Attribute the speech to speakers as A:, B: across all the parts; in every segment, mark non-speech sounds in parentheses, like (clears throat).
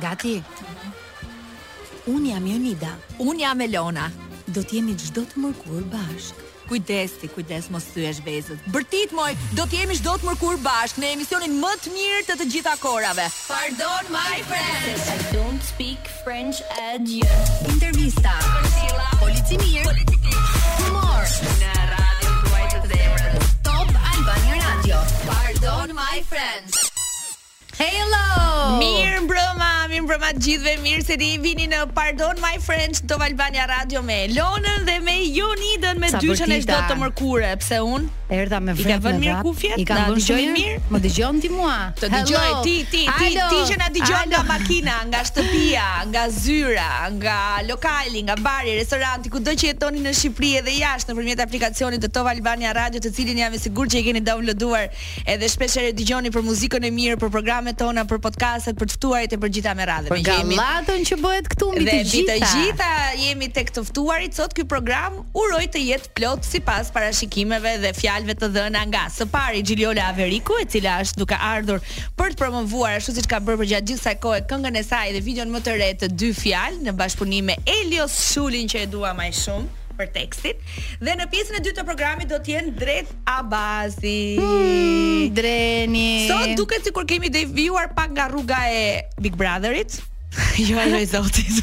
A: Gati. Unë jam Jonida.
B: Unë jam Elona.
A: Do t'jemi çdo të mërkur bashk.
B: Kujdes ti, kujdes mos thyesh vezët. Bërtit moj, do të jemi çdo të mërkur bashk në emisionin më të mirë të të gjitha korave. Pardon my friends.
C: I don't speak French at you.
A: Intervista. Polici mirë. Humor.
B: Në radio tuaj të zemrës.
A: Top Albania Radio.
B: Pardon my friends.
A: Hello.
B: Mirë mbrëma, mirë mbrëma të gjithëve, mirë se ti vini në Pardon My Friends Top Albania Radio me Elonën dhe me Jonidën me
A: Sa
B: dyshën e
A: bërtita.
B: çdo të mërkure, pse un
A: Erdha me
B: I
A: vret.
B: ka vënë
A: me
B: mirë
A: vrap.
B: kufjet?
A: I ka
B: Na
A: vënë
B: dëgjoj
A: shumë
B: mirë?
A: Më dëgjon ti mua?
B: Të dëgjoj
A: Hello.
B: ti, ti, ti,
A: Alo.
B: ti që na dëgjon nga
A: Alo.
B: makina, nga shtëpia, nga zyra, nga lokali, nga bari, restoranti, kudo që jetoni në Shqipëri edhe jashtë nëpërmjet aplikacionit të Top Albania Radio, të cilin jam e sigurt që e keni downloaduar edhe shpesh herë dëgjoni për muzikën e mirë, për programet tona, për podcastet, për të ftuarit e për gjitha me radhë.
A: Për
B: Ne jemi-
A: gallatën që bëhet këtu mbi
B: Dhe
A: të
B: mbi
A: gjitha.
B: të gjitha jemi tek të ftuarit sot ky program uroj të jetë plot sipas parashikimeve dhe fjalëve të dhëna nga së pari Xhiliola Averiku e cila është duke ardhur për të promovuar ashtu siç ka bërë për gjatë gjithë kësaj kohe këngën e saj dhe videon më të re të dy fjalë në bashkëpunim me Elios Shulin që e dua më shumë për tekstin dhe në pjesën e dytë të programit do të jenë drejt Abazi.
A: Mm, Dreni.
B: Sot duket sikur kemi devijuar pak nga rruga e Big Brotherit. (laughs) jo ajo e
A: (laughs)
B: Zotit.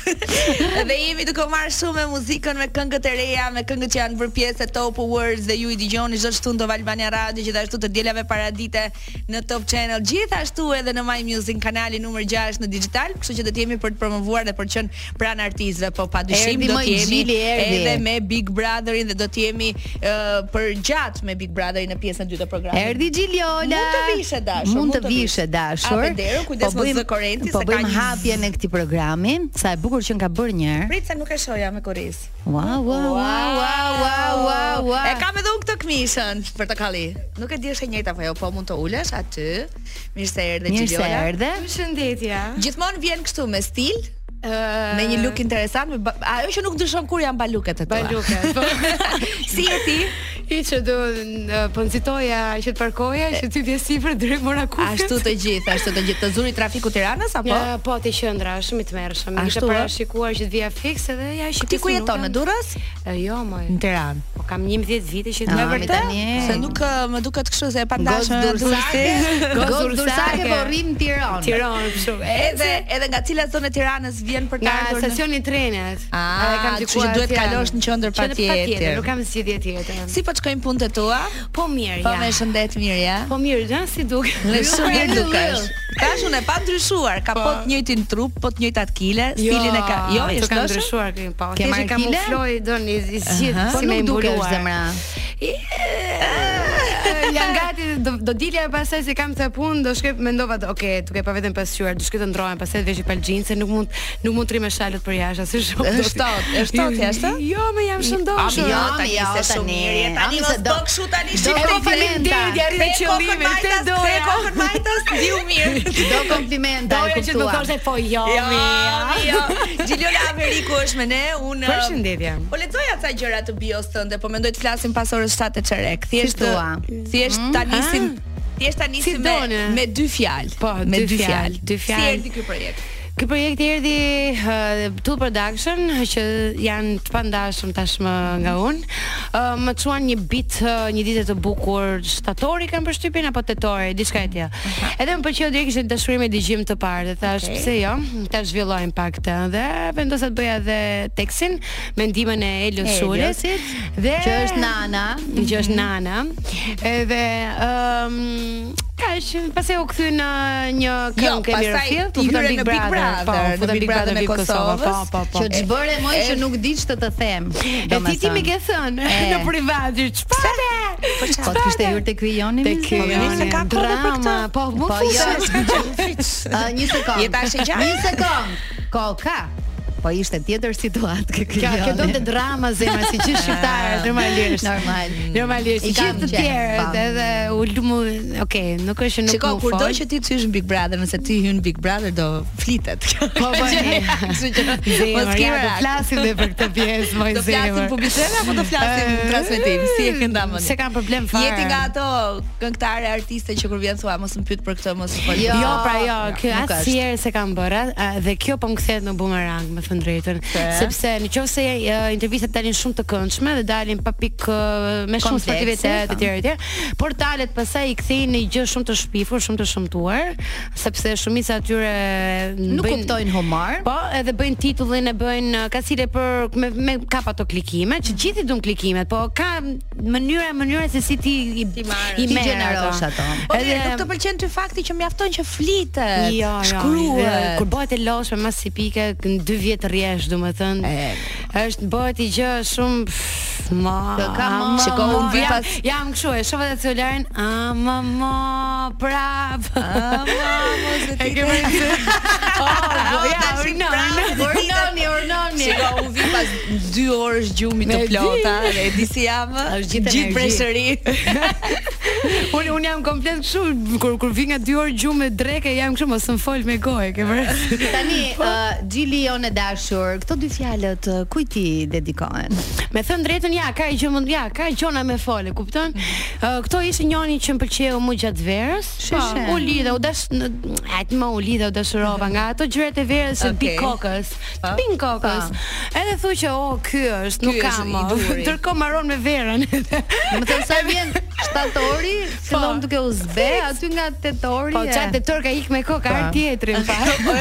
B: dhe jemi duke marrë shumë me muzikën, me këngët e reja, me këngët që janë bërë pjesë e Top Awards dhe ju i dëgjoni çdo shtunë në Top Albania Radio, gjithashtu të dielave paradite në Top Channel, gjithashtu edhe në My Music kanali numër 6 në digital, kështu që do të jemi për të promovuar dhe për të qenë pranë artistëve, po padyshim
A: Erdi,
B: do
A: moj,
B: të jemi
A: Gjili, erdi.
B: edhe me Big Brotherin dhe do të jemi uh, për gjatë me Big Brotherin në pjesën e dytë të programit.
A: Erdi Gjiliola.
B: Mund të vishe dashur,
A: Mund
B: mund
A: të
B: të
A: vishe
B: vish.
A: dashur.
B: Ape dero, kujdes mos
A: bëjmë-
B: zë korrenti,
A: Po
B: se ka
A: bëjmë
B: një-
A: hapjen e këtij programi, sa e bukur që nga bërë një herë.
B: Prit se nuk e shoja me koriz.
A: Wow, wow, wow, wow, wow, wow, wow.
B: E kam edhe unë këtë këmishën për të kalli. Nuk e di është e njëjta apo jo, po mund të ulesh aty. Mirë se erdhe
A: Mirë se
B: Xhiliola.
A: erdhe.
C: Përshëndetje.
B: Gjithmonë vjen kështu me stil,
C: Ë,
B: me një look interesant, me ba- ajo që nuk ndryshon kur janë baluket e tua.
C: baluket. Po.
B: (laughs) si e ti?
C: I që do në- po nxitoja që të parkoja, që ty vje sipër drejt mora kufit.
B: Ashtu të gjithë, ashtu të gjithë. Të zuri trafiku Tiranës apo?
C: Ja, po te qendra, është shumë i tmerrshëm. Më
B: Ashtu,
C: kishte
B: ë?
C: parashikuar që të vija fikse dhe ja shikoj.
B: Ti ku jeton në Durrës?
C: Jo, moj.
B: Në Tiranë.
C: Po kam 11
B: Ah,
C: vite
A: Me
C: që të
A: vërtet? tani.
B: Se nuk ë, më duket kështu se e
A: Gozë
B: pandashme
A: dursake, gozë
C: Gozë
A: dursake
C: dursake.
A: po rrim në Tiranë.
C: Tiranë kështu.
B: Edhe edhe nga cila zonë e Tiranës vjen për Ah, të
C: Nga
B: ardhur? në-
C: stacioni i trenit.
B: Ah,
C: Edhe
B: kështu
C: dikuar
B: që duhet
C: Tiranë.
B: kalosh në qendër
C: Qendër
B: patjetër.
C: Nuk kam zgjidhje tjetër.
B: Si po të shkojnë punët e tua?
C: Po mirë,
B: Po
C: ja.
B: me shëndet mirë, ja?
C: Po mirë, ja, si duket. (laughs)
B: Dhe
C: Jo,
B: shumë mirë
C: jo,
B: dukesh.
C: jo.
B: Tash unë e pa ndryshuar, ka po të njëjtin trup, po të njëjtat kile, stilin e ka. Jo,
C: që
B: e
C: kam
B: shkosh.
C: ndryshuar kë. Po,
A: Ke
C: thjesht
A: marrë
C: i kamufloj don i i zgjidh
A: Po
C: si më
A: nuk dukesh
C: imbuluar. (laughs)
A: zemra.
C: Jam gati do, do dilja e pastaj se kam të punë, do shkoj mendova, do, okay, duke pa veten pasqyr, do shkoj të ndrohem, pastaj të vesh i pal xhinse, nuk mund nuk mund të rri me shalët për jashtë, si
B: E
C: shumë. do-
B: shtot, e shtot jashtë?
C: Jo, më jam shëndoshur.
B: Ami, jo,
A: Ami,
B: tani
A: jo,
B: se shumë
A: tani.
B: mirë, je, tani
A: Ami,
B: mos
A: se do-
B: bë kështu tani
A: do
B: shikoj.
A: komplimenta.
C: Faleminderit, ja
A: Te
C: rrit qëllimin, te
B: Te
C: doja.
B: kokën majtas, diu (laughs) mirë.
A: Do komplimenta e
C: Doja që të më
A: kuptuam.
C: thoshte po jo,
B: Jo,
C: mi, ja.
B: mi, jo. Gjiliola Ameriku është me ne, unë
C: Përshëndetje.
B: Po lexoja ca gjëra të bios tënde, po mendoj të flasim pas orës 7 e çerek. Thjesht
A: Si thua?
B: thjesht ta nisim thjesht ta nisim
C: Mm. Si
B: me
C: doni.
B: me dy fjalë.
C: Po,
B: me
C: dy fjalë, dy fjalë.
B: Si erdhi ky projekt?
C: Ky projekt erdhi uh, Tool Production që janë të pandashëm tashmë nga unë. Uh, më çuan një bit uh, një ditë të bukur, shtatori kanë përshtypjen apo tetori, diçka e tillë. Edhe më pëlqeu direkt ishte dashuri me dëgjim të parë dhe thash
B: Okej.
C: pse jo, ta zhvillojmë pak këtë dhe vendosa të bëja edhe tekstin me ndihmën e Elios Shulit.
A: Eliosit,
C: Dhe
A: Që është nana.
C: që është nana. Edhe ëm kaq pastaj u kthy në një
B: Jo,
C: këngë e po
B: pastaj
C: Mirëfill,
B: ti hyre në Big Brother,
C: po,
B: në
C: futën
B: Big Brother
C: në
B: me Kosovës,
C: po, po,
A: Që
C: po.
A: ç'bëre moj që nuk di ç'të të them.
C: E ti ti më
A: domethënë.
C: ke thënë
A: E.
C: në privat, çfarë? Po
A: Po të kishte hyrë tek ky Joni.
C: Te
A: mirë?
C: ky
A: Po,
B: Joni.
A: mirë se
B: kohë
A: ka-
B: edhe për
C: drama,
B: këtë.
C: po mund
B: (laughs)
A: Po
C: (laughs) të
A: jo,
C: fushesh. (laughs)
A: s'gjë- Ë, një sekond.
B: Je tash e gjatë?
A: Një sekond. Koka. Po ishte tjetër situatë kë kjo.
C: Kjo kjo do të
A: Joni.
C: drama zemra si
B: (laughs)
C: gjithë
B: Ah.
C: shqiptarët normalisht.
A: Normal.
C: Mm, Normalisht,
A: I
C: i gjithë
A: kam
C: të
A: qenë,
C: tjerët
A: pam.
C: edhe u lumu, okay, nuk është që nuk
B: Shiko,
C: më
B: kur do
C: fol. (laughs)
B: që (laughs) ti të hysh në Big Brother, nëse ti hyn në Big Brother do flitet.
C: Po
B: (laughs)
C: po. (laughs)
B: Kështu që mos
C: Zemra,
B: ke
C: ja, do
B: merak.
C: flasim dhe për këtë pjesë, moj
B: Do
C: zemër.
B: flasim publicitet apo do flasim
C: (laughs) Eh,
B: transmetim? Si e ke ndamën?
C: Se kam problem fare.
B: Jeti nga ato këngëtare artiste që kur vjen thua mos më pyet për këtë, mos më fol.
A: Jo,
C: Jo, pra jo, kjo
A: nuk është.
C: asnjëherë se kam bërë, a- a- dhe kjo po më kthehet në bumerang, me thënë drejtën,
B: Se?
C: sepse në qoftë se e, intervistat dalin shumë të këndshme dhe dalin pa pik e, me shumë
A: Komplekse,
C: sportivitet
A: po.
C: etj etj, portalet pastaj i kthejnë në gjë shumë të shpifur, shumë të shëmtuar, sepse shumica atyre
A: Nuk
C: bëjnë-
A: kuptojnë humor.
C: Po, edhe bëjnë titullin e bëjnë uh, kasile për me, me kap ato klikime, që gjithë i duan klikimet, po ka mënyra mënyra se si ti i,
B: marrësh.
C: i
A: Ti
C: merr
A: gjenerosh ato.
B: Po mirë, nuk të pëlqen ty fakti që mjafton që flitet,
C: Jo, jo,
B: shkruhet.
C: e, Kur bëhet e loshme mas si pike në 2 vjet rrjesh, domethënë.
B: E.
C: Është bëhet i gjë shumë pff, ma.
A: Kë ka
C: a,
A: mo,
B: shiko,
C: ma,
B: unë vi
C: jam-
B: pas-
C: jam kështu, e shoh vetë celularin, a më më prap.
B: Ah, mos
C: (laughs)
B: e ti. (laughs)
C: Oh, ja,
B: tash i
C: urnon,
B: prap,
C: urnon,
B: po rritet.
C: urnoni, urnoni.
B: Shiko, unë vi pas 2 orësh gjumi të
C: Me
B: plota dhe e di si jam.
A: Është gjithë energji.
B: breshëri.
C: (laughs) (laughs) Unë un jam komplet kështu kur kur vi nga 2 orë gjumë me dreke jam kështu mos më fol me gojë, ke vërtet.
A: Tani,
C: po.
A: uh, Gjili jonë e dashur, këto dy fjalët uh, kujt i dedikohen?
C: Me thënë drejtën, ja, ka i gjë mund, ja, ka i gjona me fole, kupton?
B: Mm.
C: Ë, këto ishin njëri që më pëlqeu më gjatë verës. Po,
A: Sheshe.
C: u lidha, u dash, në- ajt më u lidha, u dashurova nga ato gjërat e verës të
B: Okej.
C: okay. kokës, të
B: Pa.
C: bin kokës. Edhe thuaj që, "Oh, ky është, nuk
B: Ky
C: ka
B: është i
C: më."
B: duri.
C: (laughs) Ndërkohë marron me
B: (laughs)
C: verën.
A: Më thënë sa vjen shtatori, fillon duke u zbe, aty nga tetori.
C: Po
A: e-
C: çat detor ka ik me kokë ar tjetrin pa.
B: Po,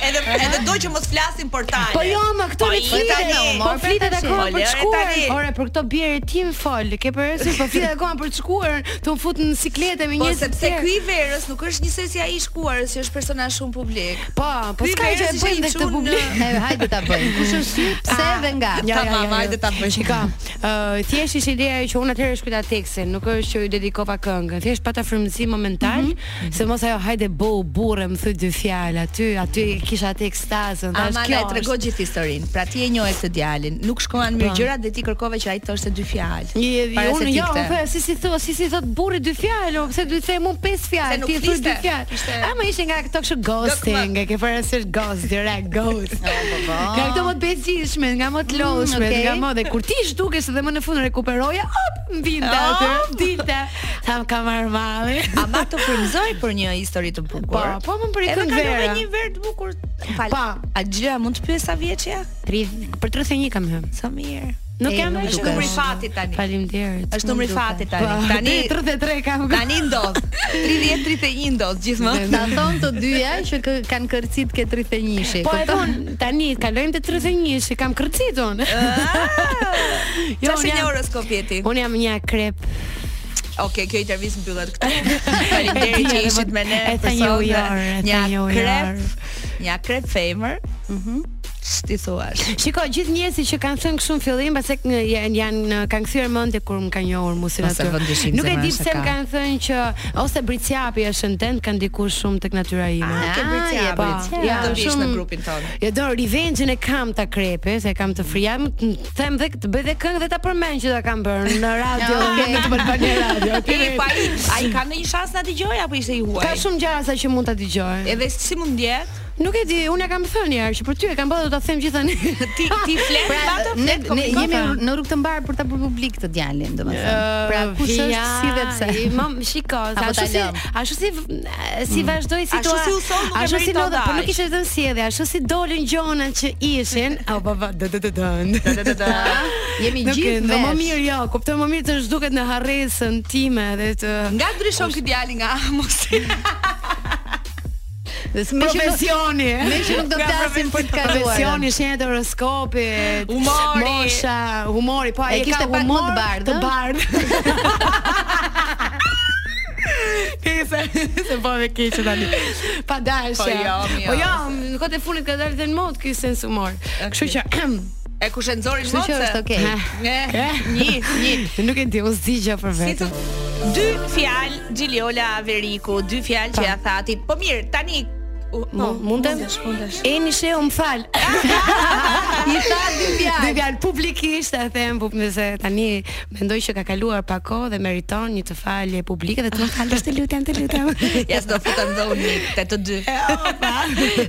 B: Edhe edhe do që mos flasim portale.
C: Po jo, ma
B: (laughs)
C: këto
B: Po,
C: me
B: i
C: flitet.
B: tani,
C: Po
A: morë,
C: flitet
A: tash.
B: Po,
C: akoma për të
B: lëre
C: shkuar.
B: tani.
C: Ore, për këto bjerë tim fol, ke parasysh, po flitet akoma për të shkuar, të mfut në siklete me
B: Po
C: njerëz.
B: sepse ky i verës nuk është njësoj si ai i shkuarës, që është personazh shumë publik.
C: Po, po
B: Ky
C: s'ka
B: verës
C: që e
B: ishte
C: bëjnë dhe
B: i
C: këtë
B: çun,
C: publik.
A: E, hajde ta bëjmë. Kush është sy, pse
C: Ah,
A: dhe nga?
C: Ja, ja,
B: Tamam,
C: ja, ja.
B: hajde ta bëjmë.
C: Shika, ë thjesht ishte ideja që unë atëherë shkruajta tekstin, nuk është që i dedikova këngën. Thjesht pata frymëzim momental, se mos ajo hajde bo burrë më thuj dy fjalë aty, aty kisha tekstazën, thash
B: Ama
C: kjo.
B: na e tregoj
C: është."
B: gjithë historinë. Pra ti e njohe këtë djalin, nuk shkoan mirë
C: Po.
B: gjërat dhe ti kërkove që ai të thoshte dy fjalë.
C: Je,
B: Para se
C: unë
B: ti
C: jo,
B: kte.
C: unë thoya si si thua, si si thot burri dy fjalë, o, pse duhet të them unë pesë
B: Se
C: fjalë,
B: nuk
C: ti e thuj dy
B: fliste,
C: fjalë.
B: ishte-
C: A më ishte nga këto kështu ghosting, e ke parasysh ghost direkt
B: (laughs)
C: ghost.
B: Oh, po,
C: Nga këto më të bezdishme, nga më
B: Mm,
C: të lodhshme,
A: okay.
C: nga më dhe kur ti zhdukesh edhe më në fund rekuperoja, hop, më vinte
B: Oh.
C: atë, dilte. Tham ka marr
B: (laughs)
C: malli.
B: Ama të frymëzoj për një histori të bukur.
C: Po, po më
B: Edhe
C: përikën
B: kalove
C: vera.
B: një verë të bukur. Fal.
C: Pa.
B: A gjëja mund të pyes sa vjeçja?
C: Tri- Për 31 kam hyrë.
B: Sa mirë.
C: Nuk
A: E,
C: jam
A: nuk
C: ashtu.
B: Është
A: dukesh.
B: numri i fatit tani.
C: Faleminderit.
B: Është numri i fatit tani.
C: Po,
B: Tani
C: (laughs) 33 kam.
B: tani
C: (laughs)
B: ndodh. 30 31 ndodh gjithmonë.
A: Ta thon të dyja që kë- kanë kërcit ke 31-shi.
C: Po e
A: kupton?
C: thon tani kalojmë te 31 shi kam kërcitun. (laughs)
B: Jo,
C: unë
B: është një
C: jam-
B: horoskop jeti.
C: Unë jam një krep.
B: Okej, kjo intervistë mbyllet këtu.
C: (laughs)
B: Faleminderit që ishit me ne.
C: E tha një
B: person,
C: ujor, e
B: Një
C: tha një ujor.
B: krep, një krep femër. Mhm. Ti thuash.
C: Shiko, gjithë njerëzit që kanë thënë kështu në fillim, pastaj kë- janë janë kanë kthyer mendje kur më kanë njohur musin
B: Ose
C: aty.
B: vëndësim
C: Nuk e
B: zemra
C: di
B: se
C: pse
B: ka.
C: më kanë thënë që ose Briciapi është shëndet, kanë ndikuar shumë tek natyra ime.
A: Ah,
B: Ke bërë
A: je
B: ja,
A: bërë
B: ja,
C: qjabrit.
B: do vish
C: Shumë-
B: në grupin tonë.
C: Ja do revenge-in e kam ta krepes, e kam të frija, më të më them dhe të bëj dhe këngë dhe ta përmend që ta kam bërë në radio,
A: Ja, okay.
C: (laughs) në të Albania
B: (laughs)
C: Radio.
B: E, pa ai, ai ka ndonjë shans na dëgjoj apo ishte i huaj?
C: Ka shumë gjëra sa që mund ta dëgjoj.
B: Edhe si mund ndjet?
C: Nuk e di, unë e kam thënë një herë që për ty e kam bërë do ta them (laughs) gjithani.
B: Ti ti flet pra,
A: Pra,
B: ato
A: ne,
B: flet
A: ne
B: komunikon.
A: jemi
C: komunikon.
A: në rrugë të mbarë për ta bërë publik të djalin, domethënë. Pra, kush është si dhe pse? (laughs)
C: Mam, (laughs) shiko,
A: Apo ta
C: ashtu si
A: lëm?
C: ashtu si Mm. si vazhdoi situata.
B: si u sol, nuk e meriton
C: lodha, po
B: dash.
C: nuk ishte vetëm sjellje, ashtu si dolën gjonat që ishin. (laughs) Au baba, do do do (laughs)
B: Da, da, da, da.
A: Jemi
C: Nuk e
A: gjithë
C: do më
A: vesh.
C: mirë jo, kuptoj më mirë të zhduket në harresën time dhe të
B: Nga ndryshon ky djali nga (laughs) Amos.
A: Dhe s'me që do-
C: profesioni. (laughs)
A: Me që nuk do të
B: Nga
A: flasim për të kaluarën.
C: Pra, Profesioni, shenjat e horoskopit,
B: Humori.
C: mosha, humori, po
A: E
C: ai
A: kishte
C: ka
A: pak më
C: humor
A: të bardhë,
C: Të
A: ëh?
C: bardhë. Nëse se po me keq tani. Pa dashje.
B: Po jo, mirë.
C: Po jo, në kohët e funit ka dalë dhe në mod ky sens humor. Kështu që (clears throat)
B: E kush e nxori
A: Kështu që është okay.
B: Ne, një, një.
C: nuk e di, u zgjigja për
B: Si të
C: vetëm.
B: dy fjalë Xhiliola Veriku, dy fjalë që
C: Pa.
B: ja thatit. Po mirë, tani
C: Mu- Mundem?
B: Mundesh.
C: Eni sheu më
B: (laughs)
C: fal.
A: I tha
C: (laughs)
A: dy fjalë.
C: Dhe fjalë publikisht e them, pup nëse tani mendoj që ka kaluar pa kohë dhe meriton një të falje publike dhe të më
B: (laughs)
C: falësh të lutem, të lutem.
B: Ja s'do futem dhe unë një te të
C: (laughs)
B: dy.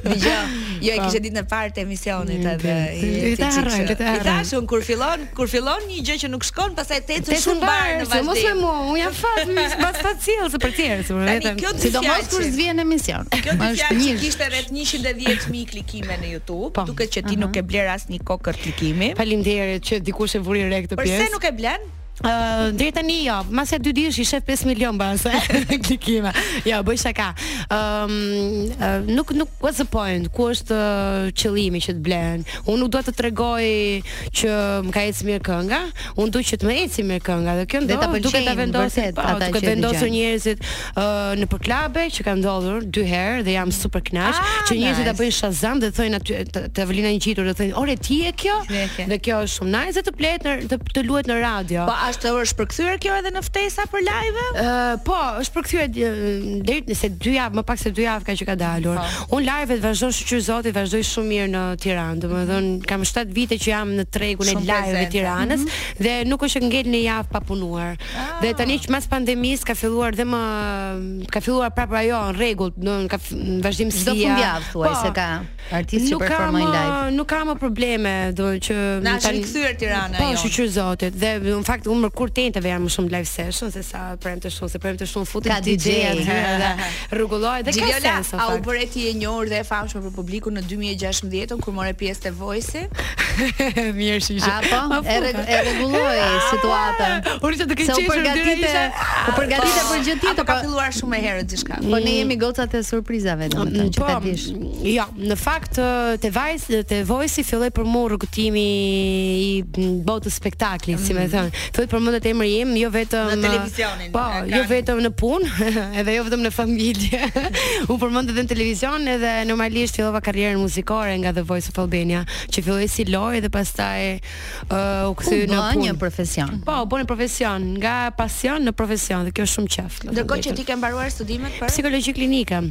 B: Dgjoj, (laughs) jo e kishe ditën e parë të emisionit edhe.
C: Këtë e harroj, këtë e
B: I
C: harroj.
B: thash unë kur fillon, kur fillon një gjë që nuk shkon, pastaj të ecën
C: Te
B: shumë barë në
C: se mos me
B: vazhdim.
C: mua, unë jam
B: (laughs)
C: fat, mbas fat cilë se për tjerë, se për
B: Tani,
C: vetëm.
B: kjo dy
A: Sidomos
B: fjalë
A: kur
B: që-
A: zvjen emision.
B: Kjo dy
A: Është
B: fjalë që
A: një
B: kishte rreth 110.000 klikime në YouTube,
C: Po.
B: duket që ti nuk e bler asnjë kokër klikimi.
C: Faleminderit që dikush e vuri re këtë pjesë.
B: Përse nuk e blen?
C: Ë, deri tani jo, mas ja dy dish i shef 5 milion base (laughs) klikime. Jo, bëj shaka. Ëm ë, nuk nuk what's the point? Ku është ë, qëllimi që të blen? Unë nuk dua të tregoj që më ka ecë mirë kënga, unë dua që të më ecë mirë kënga dhe kjo
A: Dhe ta
C: ndo duke
A: pëlqejnë
C: ta vendosur
A: vërtet
C: po,
A: ata
C: duke
A: që e
C: vendosur
A: dëgjojnë.
C: njerëzit ë, në për klabe që ka ndodhur dy herë dhe jam super kënaq
A: Ah,
C: që njerëzit ta
A: nice.
C: bëjnë shazam dhe thonë aty të- të Evelina një gjitur dhe thonë, "Ore ti e kjo?"
B: Ti e ke.
C: Dhe kjo është shumë nice dhe të plehet në të, të luhet në radio.
B: Po ashtë është përkthyer kjo edhe në ftesa për live?
C: Ë, po, është përkthyer eh, deri nëse 2 javë, më pak se 2 javë ka që ka dalur.
A: Po.
C: Unë live-et vazhdon shqyr Zoti, vazhdoj shumë mirë në Tiranë. Domethënë kam 7 vite që jam në tregun e
B: Shumë
C: live-ve
B: prezente.
C: të Tiranës
A: Mhm.
C: dhe nuk është që ngel një javë pa punuar.
A: Ah.
C: Dhe tani që mas pandemisë ka filluar dhe më ka filluar prapë ajo në rregull, do ka f- Po, në vazhdimsi.
A: Çdo fundjavë thuaj se ka artistë që performojnë live.
C: Nuk ka më probleme, do që
B: Na është
C: tani-
B: rikthyer Tirana jo.
C: Po,
B: jonë.
C: shqyr Zotit. Dhe në fakt unë mërkur tenteve jam më shumë live session se sa premte shumë, se premte shumë futet
A: Ka DJ aty,
C: dhe rregullohet dhe ka
B: Gjiljola,
C: sens. në
B: a u
C: fakt.
B: bëre ti e njohur dhe e famshme për publikun në 2016 kur more pjesë te Voice-i?
C: (laughs) Mirë që ishte.
A: Apo,
C: (laughs) Ma
A: e
C: fuka.
A: reg- e rregulloi
C: Ah,
A: situatën.
C: Unë që të ke
A: Se u
C: qeshur dyra
A: përgatite,
C: isha.
A: u përgatite për gjë
B: Ah, Apo
A: tjetër,
B: ka
A: po
B: filluar shumë e herët diçka.
A: po ne jemi gocat e surprizave domethënë, që ta dish.
C: Mm, po, Jo, në fakt ë, te vajs te Voice-i filloi për mua rrugëtimi i m, botës spektaklit, si më thon. Filloi përmendet emri im, jo vetëm
B: Mm. Në televizionin,
C: Po,
B: në
C: jo
B: ekranin.
C: vetëm në punë, (laughs) edhe jo vetëm në familje. (laughs) U përmend edhe në televizion edhe normalisht fillova karrierën muzikore nga The Voice of Albania, që filloi si lojë dhe pastaj ë, u
A: U
C: kthy në
A: bë një
C: punë.
A: profesion.
C: Po, u bën profesion, nga pasion në profesion dhe kjo është shumë qeft. me
B: Ndërkohë
C: thënë
B: që
C: drejtën
B: ti ke mbaruar studimet për
C: psikologji (clears throat) klinika.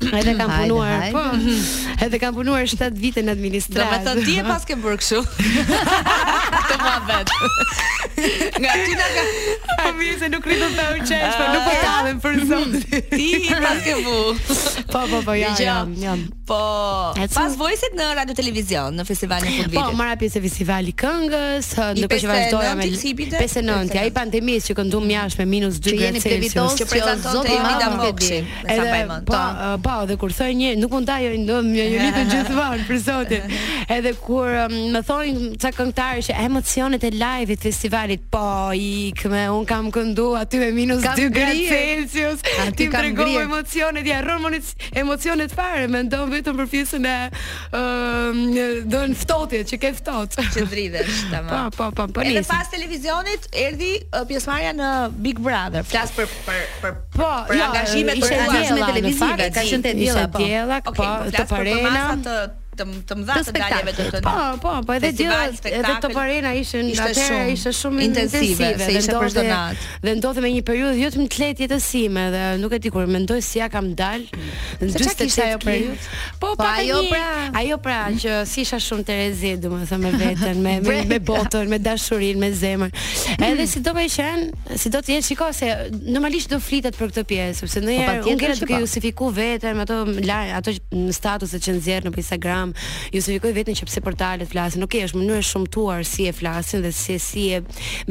C: Edhe kam
A: Hajde,
C: punuar,
A: hajde.
C: po. (clears throat) Edhe kam punuar 7 vite në
B: Do me
C: administratë.
B: thënë ti e pas ke bërë
C: (laughs)
B: kështu Të ma vetë Nga ty na ka
C: Po mirë se nuk rritëm ta uqesh, po nuk po tallem për zotin.
B: Ti i pas ke bu
C: (laughs) Po, po, po, ja,
B: Dgjoj.
C: ja, ja.
B: Po
C: E cu-
B: Pas vojësit në radio televizion Në festivalin e
C: Po,
B: fundvitit
C: marra pjesë e festivali këngës, hë,
B: I
C: ndërkohë që vazhdoja me
B: 59 hipite?
C: 59, ai pandemisë që këndum jashtë me minus 2
A: Që jeni
C: gradë Celsius.
A: plevitos
B: Që
A: që
B: prezantonte
A: zoti i
B: Emida
A: madh nuk e
B: Mokshi.
A: di.
B: Me sa pajmën,
C: po,
B: po.
C: ë, po, dhe kur thoj një, nuk mund tajoj, do më
A: (laughs)
C: joni gjithmonë për zotin. Edhe kur ëm, më thonin ca këngëtarë që emocionet e live-it festivalit, po ik me un kam këndu aty me minus
A: Kam
C: 2 gradë
A: ngrirë.
C: Celsius.
A: Aty
C: Ti më
A: kam
C: tregoj
A: ngrirë.
C: emocionet, ja rron monic- emocionet fare, mendon vetëm për pjesën e ë don ftohtit, që ke ftohtë. (laughs)
B: Që dridhesh
C: Po,
B: tamam
C: po, po, po.
B: Edhe
C: nisi.
B: pas televizionit erdhi ë, pjesëmarrja në Big Brother. Flas për për për
C: Po,
B: për
C: jo,
B: angazhimet
C: ishte
B: për
A: angazhime
C: diella, në
A: televizive,
C: fakt,
A: ka qenë te diella, po.
C: Ishte diella, po,
B: Okej, po,
C: të
B: flas për për
C: parena.
B: masa të të të mëdha
A: Të
B: të daljeve të
A: spektaklit.
B: tona.
C: Po, po, po edhe
B: Festival,
C: diella, edhe
B: spektakl.
C: të parena ishin
B: Ishte
C: atëherë
B: shumë
C: ishte shumë
B: intensive,
C: intensive,
B: se
C: dhe
B: ishte për çdo
C: ndodhi-
B: natë.
C: Dhe ndodhi me një periudhë jo të më të lehtë jetësime dhe nuk e di kur mendoj si ja kam dal.
B: Se çka kishte ajo periudhë?
C: Po,
A: Po,
C: pa
A: ajo
C: ajo pra,
A: pra-
C: ajo pra që si isha shumë Terezi, domethënë me veten, me
B: (laughs)
C: me, me botën, me dashurinë, me zemrën. Edhe si do të qenë, si do të jetë, shikoj se normalisht do flitet për këtë pjesë, sepse ndonjëherë
A: patjetër
C: unë gjera
A: që
C: duke
A: po.
C: justifiku veten ato la- ato në statuset që nxjerr në Instagram, justifikoj veten që pse portalet flasin. Okej, është mënyrë e shumtuar si e flasin dhe se si e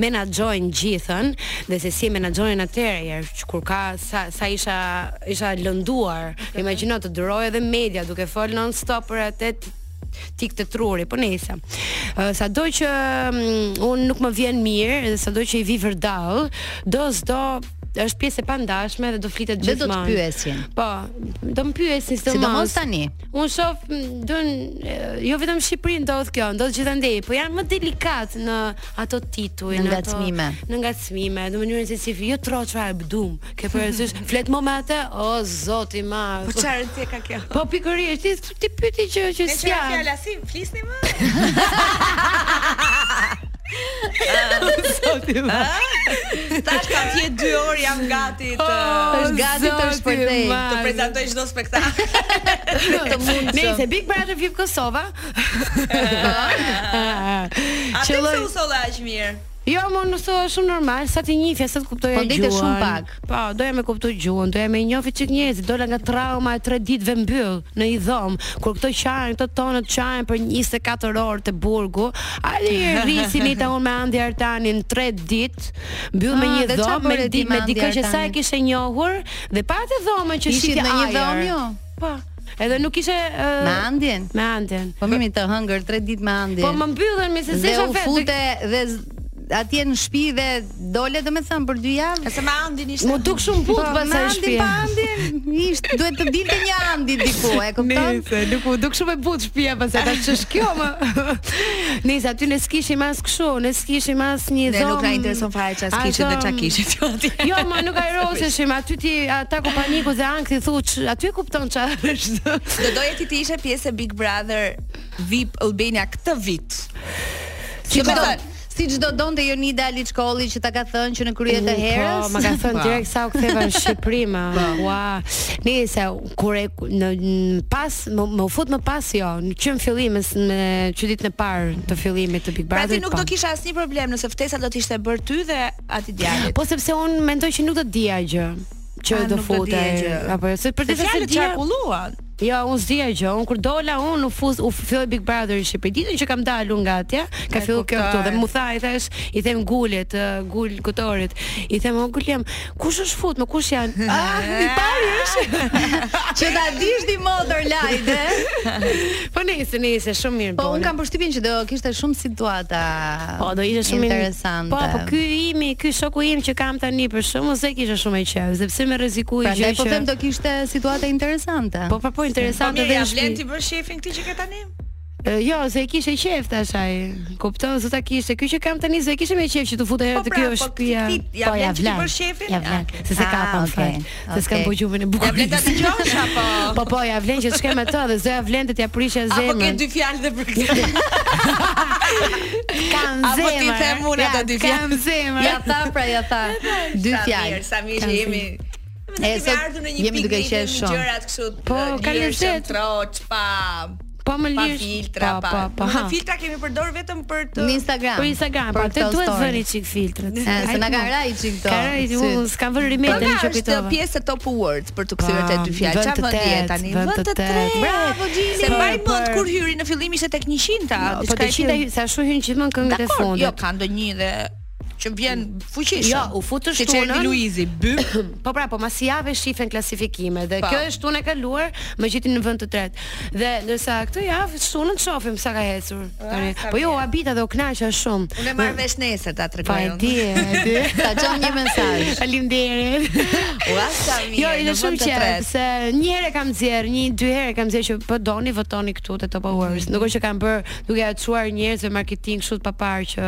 C: menaxhojnë gjithën dhe se si e menaxhojnë atëherë ja, që kur ka sa, sa isha isha lënduar. Imagjino të duroj edhe media duke fol non-stop për atë t- tik të truri, po nesa. Uh, sado që mm, unë nuk më vjen mirë, dhe sado që i vi vërdall, do s'do është pjesë e pandashme dhe do flitet
A: Dhe do të
C: gjithmonë.
A: pyesin.
C: Po, do më pyesin
A: Sidomos
C: sidomos.
A: tani.
C: Unë shoh m, dun e, jo vetëm në Shqipëri ndodh kjo, ndodh gjithandej, po janë më delikat në ato tituj,
A: Në
C: ato-
A: ngacmime.
C: në ngacmime, në mënyrën se si jo troçra e bdum. Ke parasysh flet më me atë, o zoti i madh.
B: Po çfarë rëndësie ka kjo?
C: Po pikërisht ti ti pyeti që që
B: Ne
C: s'ka.
B: çfarë fjala si? Flisni më?
C: Zoti ma.
B: Ah. Tash ka fje 2 orë jam gati të
C: Oh.
A: Është gati të shpërthej.
B: të prezantoj çdo spektakl.
A: të mundshëm.
C: Nëse Big Brother VIP Kosova. Ah.
B: A ti pse
C: Qëlloj.
B: u solla aq mirë?
C: Jo, më nuk thua shumë normal, sa ti njihja, sa të kuptoja
A: Po,
C: gjuhën.
A: dite shumë pak.
C: Po, doja me kuptoj gjuhën, doja me njohë çik njerëz, dola nga trauma e 3 ditëve mbyll në i dhom, kur këto qajnë, këto tonët qajnë për 24 orë te burgu. Ali e
A: (laughs)
C: rrisin ita unë me Andi Artanin 3 ditë, mbyll me
A: Ah,
C: një
A: dhe çfarë
C: dhom, me
A: bëre ti
C: ditë
A: me
C: me
A: Andi
C: dikë që sa e
A: Artanin?
C: kishe njohur dhe pa atë dhomën që
A: Ishit
C: shitja
A: në një
C: ajër.
A: dhom, jo?
C: Po. Edhe nuk ishe uh,
A: Me Andin?
C: Me Andin.
A: Po mimi të hëngër 3 ditë me Andin.
C: Po më mbyllën me se
A: Dhe
C: si sa
A: u
C: vetë.
A: fute dhe z- atje në shtëpi dhe dole domethënë për 2 javë.
B: Nëse me Andin ishte.
C: Mu duk shumë
A: (laughs)
C: but
A: Po, me
C: pasaj
A: Andin,
C: shtëpi.
A: pa Andin, ish, duhet të dilte një Andi diku,
C: (laughs)
A: e kupton?
C: Nëse, nuk u duk shumë e butë shtëpia pastaj tash ç'është kjo më.
B: (laughs)
C: Nëse aty ne s'kishim as kështu, ne s'kishim as një
B: Dhe
C: dhomë.
B: nuk na intereson fare çfarë kishit dhe çfarë kishit ju atje.
C: Jo,
B: (laughs)
C: ma nuk ajroseshim, aty ti ata ku paniku dhe ankthi thu, ç- aty e kupton çfarë është.
B: Do doje ti të ishe pjesë e Big Brother VIP Albania këtë vit.
A: Si
B: Do me pra
A: çdo
B: thënë,
A: si çdo donte Jonida Ali Çkolli që ta ka thënë që në krye të herës.
C: Po, ma ka
B: (laughs)
C: thënë
B: Po.
C: direkt sa u ktheva në Shqipëri ma.
B: (laughs)
C: Ua. Nëse kur e në, në pas më, më u fut më pas jo, në që në fillim s- me që ditën e parë të fillimit të Big po.
B: pra
C: Brother.
B: ti nuk do kisha asnjë problem nëse ftesa do të ishte bërë ty dhe aty djalit.
C: Po sepse unë mendoj që nuk do të dija gjë
B: A,
C: që do
B: Ah, nuk do dija
C: futej
B: gjë.
C: apo jo. Se për
B: Dhe
C: të se
B: fjalët
C: dija.
B: çarkulluan.
C: Jo, unë s'dija gjë. Unë kur dola unë u fuz u filloi Big Brother në Shqipëri. Ditën që kam dalur nga atje, ka
B: E
C: filluar kjo
B: kuptoj.
C: këtu dhe mu tha i thash, i them gulet, ë, gul kotorit. I them, "O gul jam, kush është fut, më kush janë?"
B: (laughs)
C: ah, i pari është.
A: që ta dish ti motor lajde.
C: (laughs) po nice, nice, shumë mirë.
A: Po
C: boli.
A: un kam përshtypjen që do kishte shumë situata.
C: Po do ishte shumë
A: interesante.
C: Po, po ky imi, ky shoku im që kam tani për shkakun se kisha shumë e qejf, sepse më rrezikoi
A: Prandaj
C: gjë që.
A: po them do kishte situata interesante.
C: Po po po
B: Po
C: interesante
B: mirë,
C: dhe
B: ja
C: në
B: vlen
C: shtëpi.
B: ti bër shefin këtë që ke tani?
C: E, Jo, se e kishe qef tash ai. Kupton, zota kishte. Ky që kam tani se e kishe me qef që të futa herë
B: Po
C: te
B: pra,
C: kjo
B: po
C: shtëpia.
B: ti- ti- ja vlen që ti bësh shefin?
C: Ja vlen.
B: Ah,
C: Se se
A: ah,
C: kapa më
A: okay,
C: fal. Se s'kam
A: okay.
C: po gjumin e bukur.
B: Ja vlen
C: (laughs)
B: ta dëgjosh apo?
C: Po po, ja vlen që shkem me të dhe zoja vlen të t'ja prishja
B: Apo ke
C: zemrën.
B: dy fjalë dhe për
C: (laughs)
B: këtë.
C: kam
B: apo ti
C: zemër.
B: them unë
C: Ja,
B: ato dy fjalë.
C: Kam zemër.
A: Ja tha pra ja
C: (laughs)
A: tha dy fjalë.
B: Sa mirë që jemi.
A: E,
B: E
A: sot
B: sot
A: jemi duke qenë shumë.
B: Gjërat kështu. eh,
C: Po, ka lezet.
B: Troç pa
C: Po më
B: pa
C: lirë.
B: filtra pa.
C: Po,
B: Nuk,
C: ha.
B: Filtra kemi përdor vetëm për të
A: Në Instagram.
C: Për Instagram, po te
A: këto
C: duhet
A: story.
C: vëni çik filtrat.
A: E, se na ka raj çik këto.
C: Ka raj, unë
A: syt.
C: s'kam vënë
B: Po
C: rimedin
B: nga
C: që
B: është
C: kujtova.
B: pjesë e Top Awards për të kthyer te
C: Pa,
B: dy fjalë.
C: vend
B: Çfarë
C: të
B: vend je
C: tetë,
B: tani? Vend
C: vend të
B: të tretë.
C: tetë.
A: Bravo, Gjini.
B: Se mbaj
C: Po,
B: mend
C: për-
B: kur hyri në fillim ishte tek 100-ta,
C: Po të qita se ashtu hyn gjithmonë këngët e
B: Dakor,
C: fundit.
B: jo ka ndonjë dhe që vjen fuqishëm.
C: Jo, u futë
B: Si Çerni
C: shtunën.
B: Luizi, bym.
C: (clears throat) Po pra, po mas javë shifen klasifikime dhe
B: Po.
C: kjo është unë e kaluar me gjithin në vend të tretë. Dhe ndërsa këtë javë shtunën të shohim sa ka ecur. tani.
B: Ah, sa Po, jo.
C: Po jo, u
B: mirë.
C: habita dhe u kënaqa shumë.
B: Unë e marr vesh nesër ta
C: Pa
B: tregoj.
C: Po, e
B: unë.
C: di, e
B: (laughs)
C: di.
A: Ta çon një mesazh.
C: Faleminderit.
B: Ua, sa mirë.
C: Jo, ishte
B: në
C: shumë
B: vend të
C: qejf,
B: tretë.
C: se një herë e kam nxjerr, një dy herë e kam nxjerr që po doni votoni këtu te Top Awards. Nuk është që kam bër duke ja çuar njerëzve marketing kështu të papar që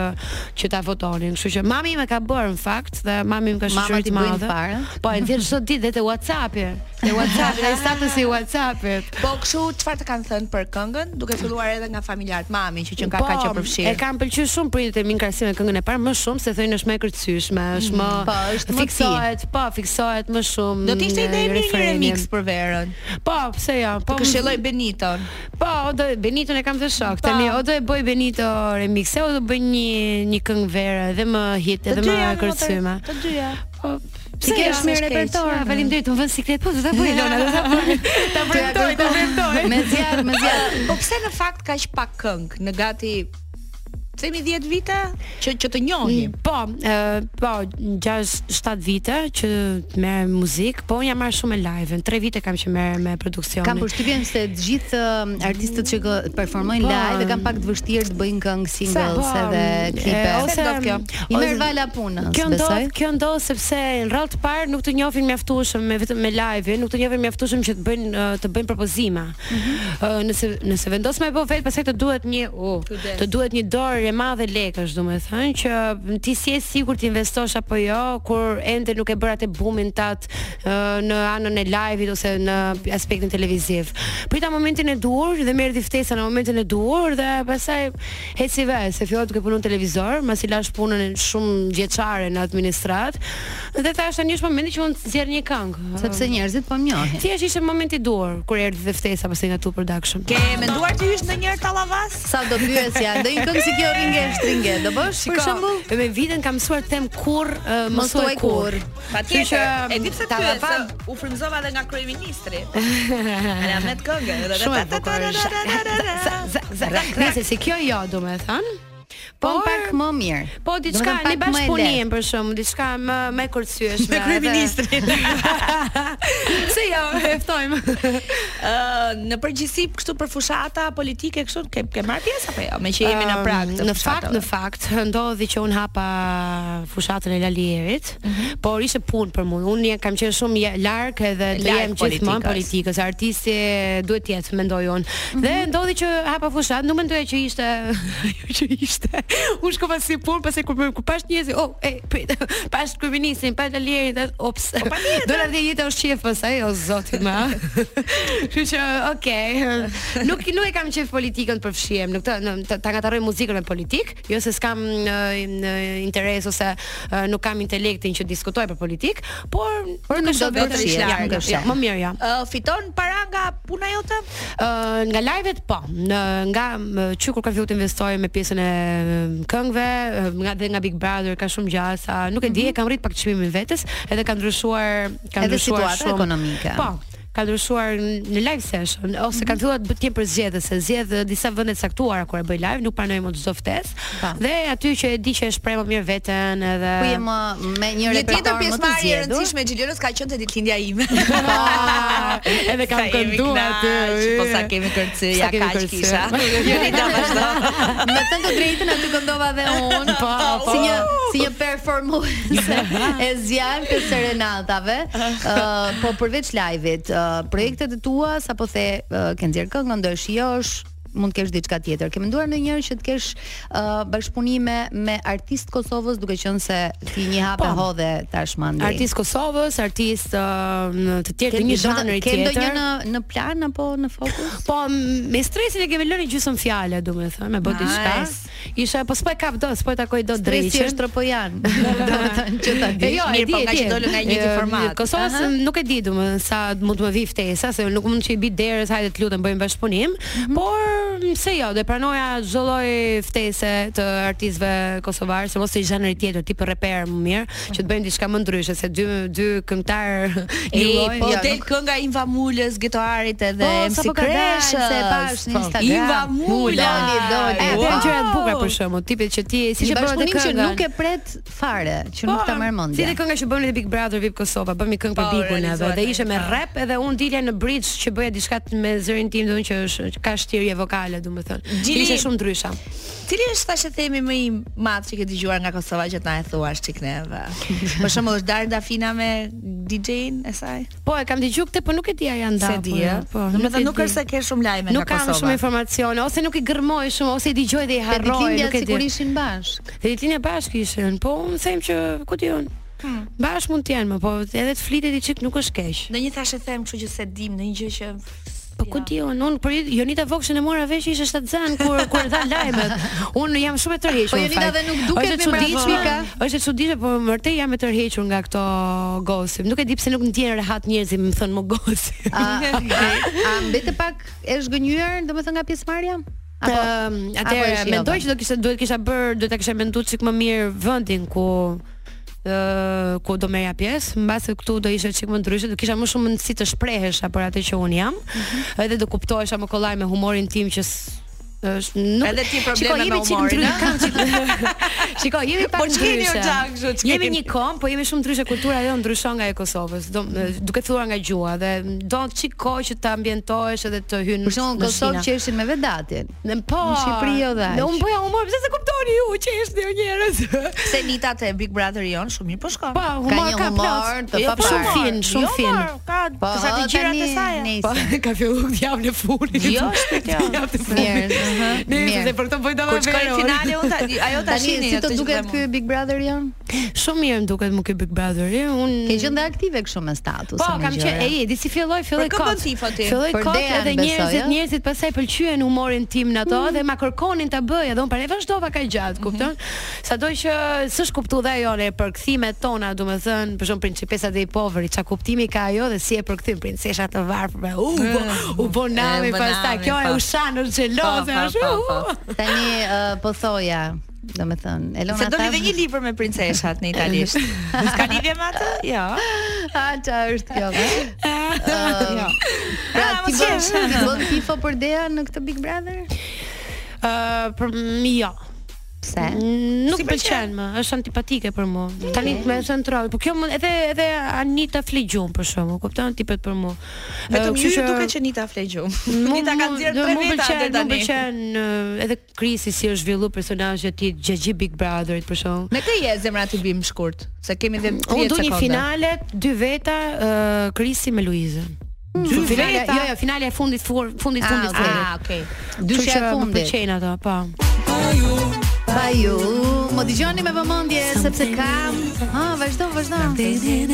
C: që ta votonin. Kështu që mami më ka bër në fakt dhe mami më ka
A: Mama
C: shoqëruar
A: t'i
C: të
A: bëjnë
C: madhe.
A: fare?
C: Po e nxjerr çdo ditë dhe te WhatsApp-i. Te WhatsApp-i, te statusi i WhatsApp-it.
B: Po kështu çfarë të kanë thënë për këngën, duke filluar edhe nga familjarët, mami që që ka ka që përfshirë.
C: Po, E kam pëlqyer shumë prindet e mi në krahasim me këngën e parë më shumë se thonë është më e kërcyshme, është më
A: Po, është më
C: fiksohet, po fiksohet më shumë.
B: Do të ishte
C: në
B: ide e mirë një
C: refrenin.
B: remix për verën.
C: Po, pse jo? Mm, Po
B: Po këshilloj Beniton.
C: Po, o do Benito e kam të shok.
B: Po.
C: Tani o do e bëj Benito remixe o do bëj një një këngë vere dhe më hit edhe më kërcyme.
B: Të dyja.
C: Po,
A: Ti ke shumë repertor.
C: Ja, Faleminderit, më vën siklet. Po, do ta bëj Lona, do ta bëj. Ta premtoj, ta premtoj.
B: (laughs)
A: Me zjarr,
C: (laughs)
A: me zjarr.
B: Po pse në fakt kaq pak këngë në gati themi 10 vite që që të njohim.
C: Po, ë, po 6-7 vite që merrem muzikë, po unë jam marr shumë me live-in. 3 vite kam që merrem me produksionin.
A: Kam përshtypjen se të gjithë um, artistët që kë- performojnë
C: Po.
A: live e kanë pak të vështirë të bëjnë këngë singles
C: po,
A: edhe
C: e,
A: klipe.
C: ose-
A: Se ndodh kjo? I merr
C: ose-
A: vala punës,
C: Kjo
A: besoj.
C: ndodh, kjo ndodh sepse në radh të parë nuk të njohin mjaftueshëm me vetëm me live, nuk të njohin mjaftueshëm që të bëjnë uh, të bëjnë propozime. Ë, nëse nëse vendos me bë vet, pastaj të duhet një u,
B: Kujdes.
C: të duhet një dorë e e madhe lekësh, domethënë që ti si e sigurt ti investosh apo jo kur ende nuk e bëra atë bumin tat ë, në anën e live-it ose në aspektin televiziv. Prita momentin e duhur dhe merrti ftesën në momentin e duhur dhe pastaj heci vetë se filloi duke punuar në televizor, masi lash punën e shumë vjeçare në administrat dhe thash tani është momenti që unë të zjerr një këngë.
A: sepse njerëzit po njohin.
C: Thjesht ishte momenti i duhur kur erdhi dhe ftesa pastaj nga Tu Production.
B: Ke menduar të hysh në njërë tallavas?
A: Sa do pyesja, do një këngë si kjo ringesh, ringe, do bësh për
C: Shiko,
A: shembull?
C: me vitën kam mësuar të them kurr, ë,
A: Mos
C: mos thuaj
A: thuaj
C: kurr.
B: Pa
C: Kështu
B: tjetër,
C: që,
B: e di pse
C: ta
B: pyet,
C: lava-
B: se u frymzova edhe nga
C: (laughs)
B: kryeministri. Ana me të këngë.
C: Shumë e bukur. Nëse si kjo jo, do me thënë.
A: Po
C: Por,
A: pak më mirë.
C: po diçka
A: domethënë
C: ne
A: pak më e
C: bashkëpunim për shkakun, diçka më më kurtësyeshme.
B: Me kryeministrin.
C: (laughs) Se jo, e (laughs) ftojmë.
B: Ë, në përgjithësi kështu për fushata politike kështu ke ke marrë pjesë apo jo? Me që jemi në prag të
C: Ehm, Në fakt, në fakt, ndodhi që un hapa fushatën e Lalierit, por ishte punë për mua. Unë kam qenë shumë ja- larg edhe të
B: Larg
C: jem gjithmonë
B: politikës.
C: politikës. Artisti duhet të jetë, mendoj unë. Dhe ndodhi që hapa fushat, nuk mendoja që ishte (laughs) ajo që ishte. (laughs) Unë shkova si punë, pastaj kur kur pash njerëz, oh, e (laughs) prit, pash kryeministin, pash Lalierin, thash, ops. (laughs)
B: patjetër.
C: Dola dhe jeta është qef pastaj, o zoti më. Kështu që, okay. (laughs) Nuk nuk e kam qef politikën për fshihem, nuk të në- të- ta ngataroj muzikën me politik, jo se s'kam në, në interes ose ë, nuk kam intelektin që diskutoj për politik, por
A: Por nuk
C: është
A: do të
C: vetëm-
B: të ish
C: Ja,
B: larg,
C: nuk është, ja,
A: fshem.
C: jo, më mirë ja.
B: Ë, fiton para nga puna jote?
C: Ë, nga live-et po, në nga më, që kur ka filluar të investoj me pjesën e m, këngëve, ë, nga dhe nga Big Brother ka shumë gjasa, nuk e di, e kam rrit pak çmimin vetes, edhe ka ndryshuar, ka
A: Mhm. Edhe
C: ndryshuar
A: situata
C: shumë.
A: ekonomike. Mhm.
C: Po, ka ndryshuar n- në live session ose kanë filluar të bëjnë për zgjedhje se zgjedh eh, disa vende të caktuara kur e bëj live, nuk pranoj më çdo ftesë.
A: Pa.
C: Dhe aty që e di që e shpreh më mirë veten edhe
A: Po. Ku je më me një
B: Një tjetër
A: repertor më të
B: pjesëmarrje e
A: zgjedhur?
B: rëndësishme e Xhilionës ka qenë te ditëlindja ime.
C: Ah, edhe kam
B: Sa jemi
C: kënduar aty.
B: knaq, Po sa kemi kërcy,
C: Sa
B: ja
C: kemi
B: kaq
C: kërcy.
B: kisha. Jonita vazhdo.
A: (laughs) Me të të drejtën aty këndova dhe unë
C: Po, po.
A: Si një, si një performuese E zjarë të
C: (laughs)
A: serenatave Ë, Po përveç live-it ë, Projektet e tua Sa po the uh, Kënë zirë këngë, ndojsh josh mund të kesh diçka tjetër. Ke menduar ndonjëherë që të kesh uh, bashkëpunime me artist Kosovës duke qenë se ti një hap e
C: Po.
A: hodhe tashmë ndej.
C: Artist Kosovës, artist ë, në të tjerë të një zhanri
A: Ke
C: tjetër.
A: ndonjë në në plan apo në fokus?
C: Po m- me stresin e kemi lënë gjysmë fjale, domethënë, me bë diçka.
A: Nice.
C: Isha po s'po e kap dot, s'po e takoj dot
A: Dresi
C: drejqën.
A: është
C: (laughs)
A: tropojan. Domethënë që ta
C: E
A: di.
C: jo, e
B: mirë,
C: di,
B: po
C: e
B: nga
C: di.
B: që dolën nga një njëjti
C: E,
B: format.
C: Kosovës
A: Aha.
C: nuk e di domethënë sa mund të më vi ftesa, se unë nuk mund që i bi derës, hajde të lutem bëjmë bashkëpunim,
B: Mhm.
C: por se jo, do e pranoja çdo lloj ftese të artistëve kosovar, se mos të zhanri tjetër, tipi reper më mirë, që të bëjmë diçka më ndryshe, se dy dy këngëtar (laughs) një
B: E,
C: lloj.
B: po
A: jo,
B: del
A: nuk-
B: kënga Inva Mulës, getoarit edhe
A: Po,
B: MC
A: sa po ka dalë,
B: Kreshës.
A: se e pash në
C: Po.
A: Instagram.
B: Inva Mula.
A: Doli, doli.
C: E,
B: Wow.
C: po janë gjëra të bukura për shembull, tipet që ti si
A: Një
C: që Po, bëhet
A: bashkëpunim që
C: kënga.
A: nuk e pret fare, që nuk ta merr mendja.
C: Si dhe kënga që bëni te Big Brother VIP Kosova, bëmi këngë për
B: Po,
C: Bigun edhe
B: realizohet
C: dhe
B: në
C: ishte me
B: një kohë.
C: rap edhe unë dilja në bridge që bëja diçka t- me zërin tim, domethënë që është që ka shtirje vokale, domethënë.
B: Gjili-
C: Ishte shumë ndrysha.
B: Cili është thashë themi më i madh që ke dëgjuar nga Kosova që na e thuash çik
C: (laughs)
B: neve? Për shembull është Darda Fina me DJ-n e saj?
C: Po e kam dëgjuar këtë, po nuk e di a janë ndarë.
B: Se di, ë?
C: po.
B: Do të
C: e
B: thënë nuk
C: di.
B: është se ke shumë lajme
C: Nuk
B: nga
C: kam
B: Kosova.
C: shumë informacione ose nuk i gërmoj shumë ose i dëgjoj dhe
A: Te
C: i harroj,
A: ditëlindja
C: nuk e
A: sikur
C: di.
A: ishin
C: (laughs)
A: bashk.
C: Te ditën e bashkë ishin, po unë them që ku ti unë.
B: Hmm.
C: Bashkë mund të janë, më, po edhe të flitet i çik nuk është keq.
B: Në një thashë them, kështu që se dim, në një gjë që
C: Po ku di unë, unë për Jonita Vokshën e mora vesh ishte shtatzan kur kur dha lajmet. Unë jam shumë e tërhequr.
A: Po
C: në
A: Jonita
C: fakt.
A: dhe nuk duket
C: Është e
A: me
C: çuditshme,
A: mravëra.
C: Është e çuditshme, po vërtet jam e tërhequr nga këto gosip. Nuk e di pse nuk ndjen rehat njerëzit më thon më gosip.
A: A, a mbete pak e zhgënjur, domethënë nga pjesëmarrja? (laughs) Apo apo
C: Ëm,
A: e
C: Ehm, atëherë
A: shijove?
C: mendoj që do kishte duhet kisha bër, do ta kisha menduar çik më mirë vendin ku ë ku do merja pjesë, mbase këtu do ishte çik më ndryshe, do kisha më shumë mundësi të shprehesha për atë që un jam,
A: Mhm.
C: edhe do kuptohesha më kollaj me humorin tim që s- është nuk
B: Edhe ti probleme
C: Shiko,
B: me
C: jemi çik
B: humorin,
C: ndrysh-
B: a?
C: kam çik. (laughs) Shiko, jemi pak
B: Po ç'keni
C: ndryshe.
B: o gjak, kështu, ç'keni?
C: Jemi një kom, po jemi shumë ndryshe kultura jo ndryshon nga e Kosovës, do duke filluar nga gjuha dhe do çik kohë që të ambientohesh edhe të hyn
A: për shembull në Kosovë që ishin me Vedatin.
C: Në po.
A: Në Shqipëri jo dhe
C: Dhe
A: aq.
C: unë bëja humor, pse se kuptoni ju që është jo njerëz.
B: se nita te Big Brother jon shumë mirë po shkon.
C: (laughs) Po, humor
A: një
C: ka
A: humor
C: plot.
A: të
C: Jo, po,
A: paparë.
C: Shumë fin, shumë
B: jo,
C: fin. (laughs)
B: mor, Ka të
A: Po,
B: sa të
A: o,
B: gjërat e
A: tani,
B: saj.
A: (laughs) ne-
C: Po, ka filluar të javën e funit.
B: Jo, shpejt jo.
C: Javën e funit.
A: Mirë,
C: Ne
A: Mirë.
C: se për këtë bëj dalla
B: Kur shkoi
C: veror.
B: finale
C: (laughs)
B: unë tani ajo ta
A: Tani
B: shihni.
A: si të
B: atë që
A: duket
B: them
A: ky
B: unë.
A: Big Brother jon?
C: Shumë mirë më duket më ky Big Brother. Un
A: Ke qenë dhe aktive kështu me status.
C: Po, kam qenë, e di si filloi, filloi
B: Për kë bën
C: kot.
B: tifo ti?
C: Filloi
A: Për
C: kot
A: Dean,
C: edhe
A: besoj,
C: njerëzit,
A: ë?
C: njerëzit pastaj pëlqyen humorin tim në ato dhe ma kërkonin ta bëj, edhe un parë vazhdova kaq gjatë, kupton? Sado që s'është kuptu dhe ajo ne për kthimet tona, domethënë, për shemb principesa dhe i poveri, çka kuptimi ka ajo dhe si e përkthim princesha të varfërve. U bo, u bo nami
B: bë
C: pastaj
B: nami,
C: kjo e
B: po.
C: ushan është xheloze
B: Po, po,
C: ashtu.
B: po, po.
C: u.
A: Tani ë, po thoja, domethënë, Elona
B: Se doli dhe një libër me princeshat në
C: (laughs)
B: italisht. S'ka lidhje me atë? Jo.
A: A ça është
C: (laughs)
A: kjo? Ë,
C: Jo.
A: Pra
B: Ah,
A: ti
B: mos
A: bën
B: qesh.
A: ti bën tifo për Dea në këtë Big Brother?
C: Ë, për jo.
A: Pse?
C: Nuk
B: Si
C: si
B: pëlqen?
C: pëlqen më, është antipatike për mua. Tani më thën troll, po kjo më edhe edhe Anita Flegjum për shembull, kupton tipet për mua.
B: Vetëm ju
C: kështu
B: ju duket që Nita flejgjum. (laughs)
C: mu-
B: Nita ka
C: mu-
B: nxjerr
C: do-
B: tre
C: mu
B: veta
C: pëlqen,
B: deri
C: Mu
B: tani.
C: pëlqen ë, edhe Krisi si është zhvillu personazhi i tij gjatë Big Brotherit për shembull.
B: Me këtë je zemra ti bim shkurt, se kemi edhe 30
C: Unë
B: sekonda.
C: du një finale, dy veta, ë, Krisi me Luizën.
B: Dy
C: Finale,
B: veta?
C: jo, jo, finale e fundit, fur- fundit,
A: Ah,
C: fundit,
A: okay.
C: fundit.
B: Ah, okay.
C: Kështu
A: Dyshja
C: që
A: e
C: më
A: fundit.
C: Pëlqen ato, po.
A: Pa ju, më dëgjoni me vëmendje sepse kam. Ha, vazhdo, vazhdo.
C: Okay.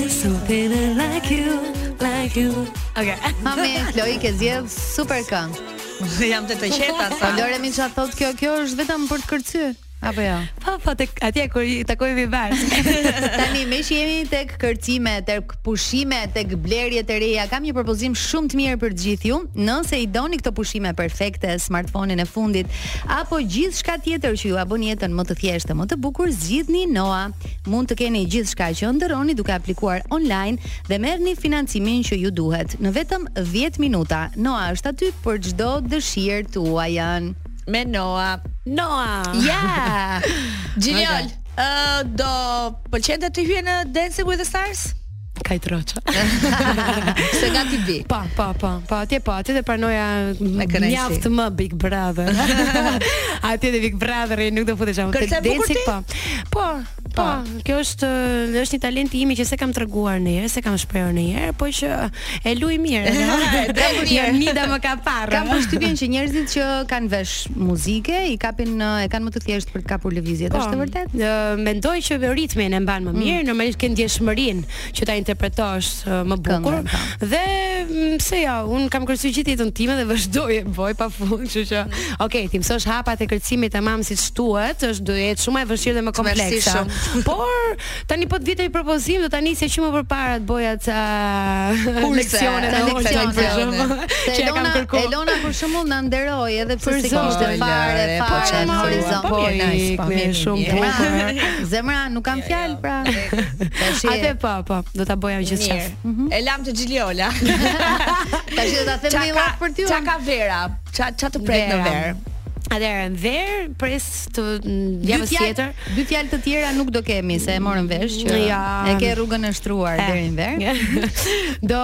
A: Ha me Kloi ke zgjedh super këngë.
B: Jam të të qeta
A: Po
B: sa.
A: Lore mi çfarë thot kjo? Kjo është vetëm për të kërcyer. Apo jo?
C: Po, po, tek- atje kur i takojmë i bashkë.
A: Tani me që jemi tek kërcime, tek pushime, tek blerje të reja, kam një propozim shumë të mirë për të gjithë ju. Nëse i doni këto pushime perfekte, smartphone-in e fundit apo gjithçka tjetër që ju a bën jetën më të thjeshtë, më të bukur, zgjidhni Noa. Mund të keni gjithçka që ëndërroni duke aplikuar online dhe merrni financimin që ju duhet në vetëm 10 minuta. Noa është aty për çdo dëshirë tuajën.
B: Me Noa.
C: Noa. (laughs)
A: Ja!
B: Gjenial. Ë do pëlqente të hyje në Dancing with the
C: (laughs)
B: Stars?
C: Ka i troqa. Po,
B: Se gati bi.
C: Pa, pa, pa, pa, atje pa, atje dhe pranoja
B: Me kënaqësi.
C: mjaft më Big Brother. atje dhe Big Brother nuk do futesh apo
B: Kërce bukur ti?
C: po. Po, po, kjo është është një talent i imi që se kam treguar në herë, se kam shprehur në herë, po që e luaj mirë.
B: E drejt mirë.
C: Mida më ka parë.
A: Kam përshtypjen që njerëzit që kanë vesh muzike i kapin ë, e kanë më të thjeshtë për të kapur lëvizjet,
C: Po,
A: është e vërtet? Mm.
C: ë, mendoj që ritmin e mban më mirë, normalisht ke ndjeshmërinë që ta interpretosh ë, më bukur.
A: Këngën, po.
C: Dhe m, pse jo, un kam kërcyer gjithë jetën time dhe vazhdoj e bëj pa fund, kështu që
A: Mm.
C: okay, ti mësosh hapat e kërcimit tamam siç duhet, është do jetë shumë e vështirë dhe më komplekse.
B: Vërtetishëm.
C: Por tani po të vitë i propozim, do ta nisja që më përpara të bëja ca
B: Kurse, ca
C: leksione dhe online për
B: leksione.
C: shembull,
A: (laughs) Se
C: që ja kam
A: Elona,
C: kërkuar.
A: Elona për shembull na nderoi edhe pse
C: Për
A: se kishte
C: zonjë,
A: fare,
B: Lore, po
A: fare
B: që
A: në
B: na-
A: horizont.
B: po, mirë, nice, po,
C: me
B: mirë,
C: shumë
B: mirë.
C: bukur. (laughs)
A: Zemra, zemra, nuk kam fjalë pra. Tash
C: Atë po, po, do ta bëja gjithë
B: Mirë.
C: qaf.
B: E lam të Gjiliola.
A: tash do ta them
B: Qa
A: me
B: ka
A: lak për ty.
B: Qa ka vera? Qa qa të prek në verë?
C: Atëherë në verë pres të n-
A: Dy
C: javës
A: fjalë,
C: tjetër.
A: dy fjalë të tjera nuk do kemi se e morën vesh që
C: Ja. Eh,
A: e ke rrugën e shtruar deri në verë.
C: (laughs) do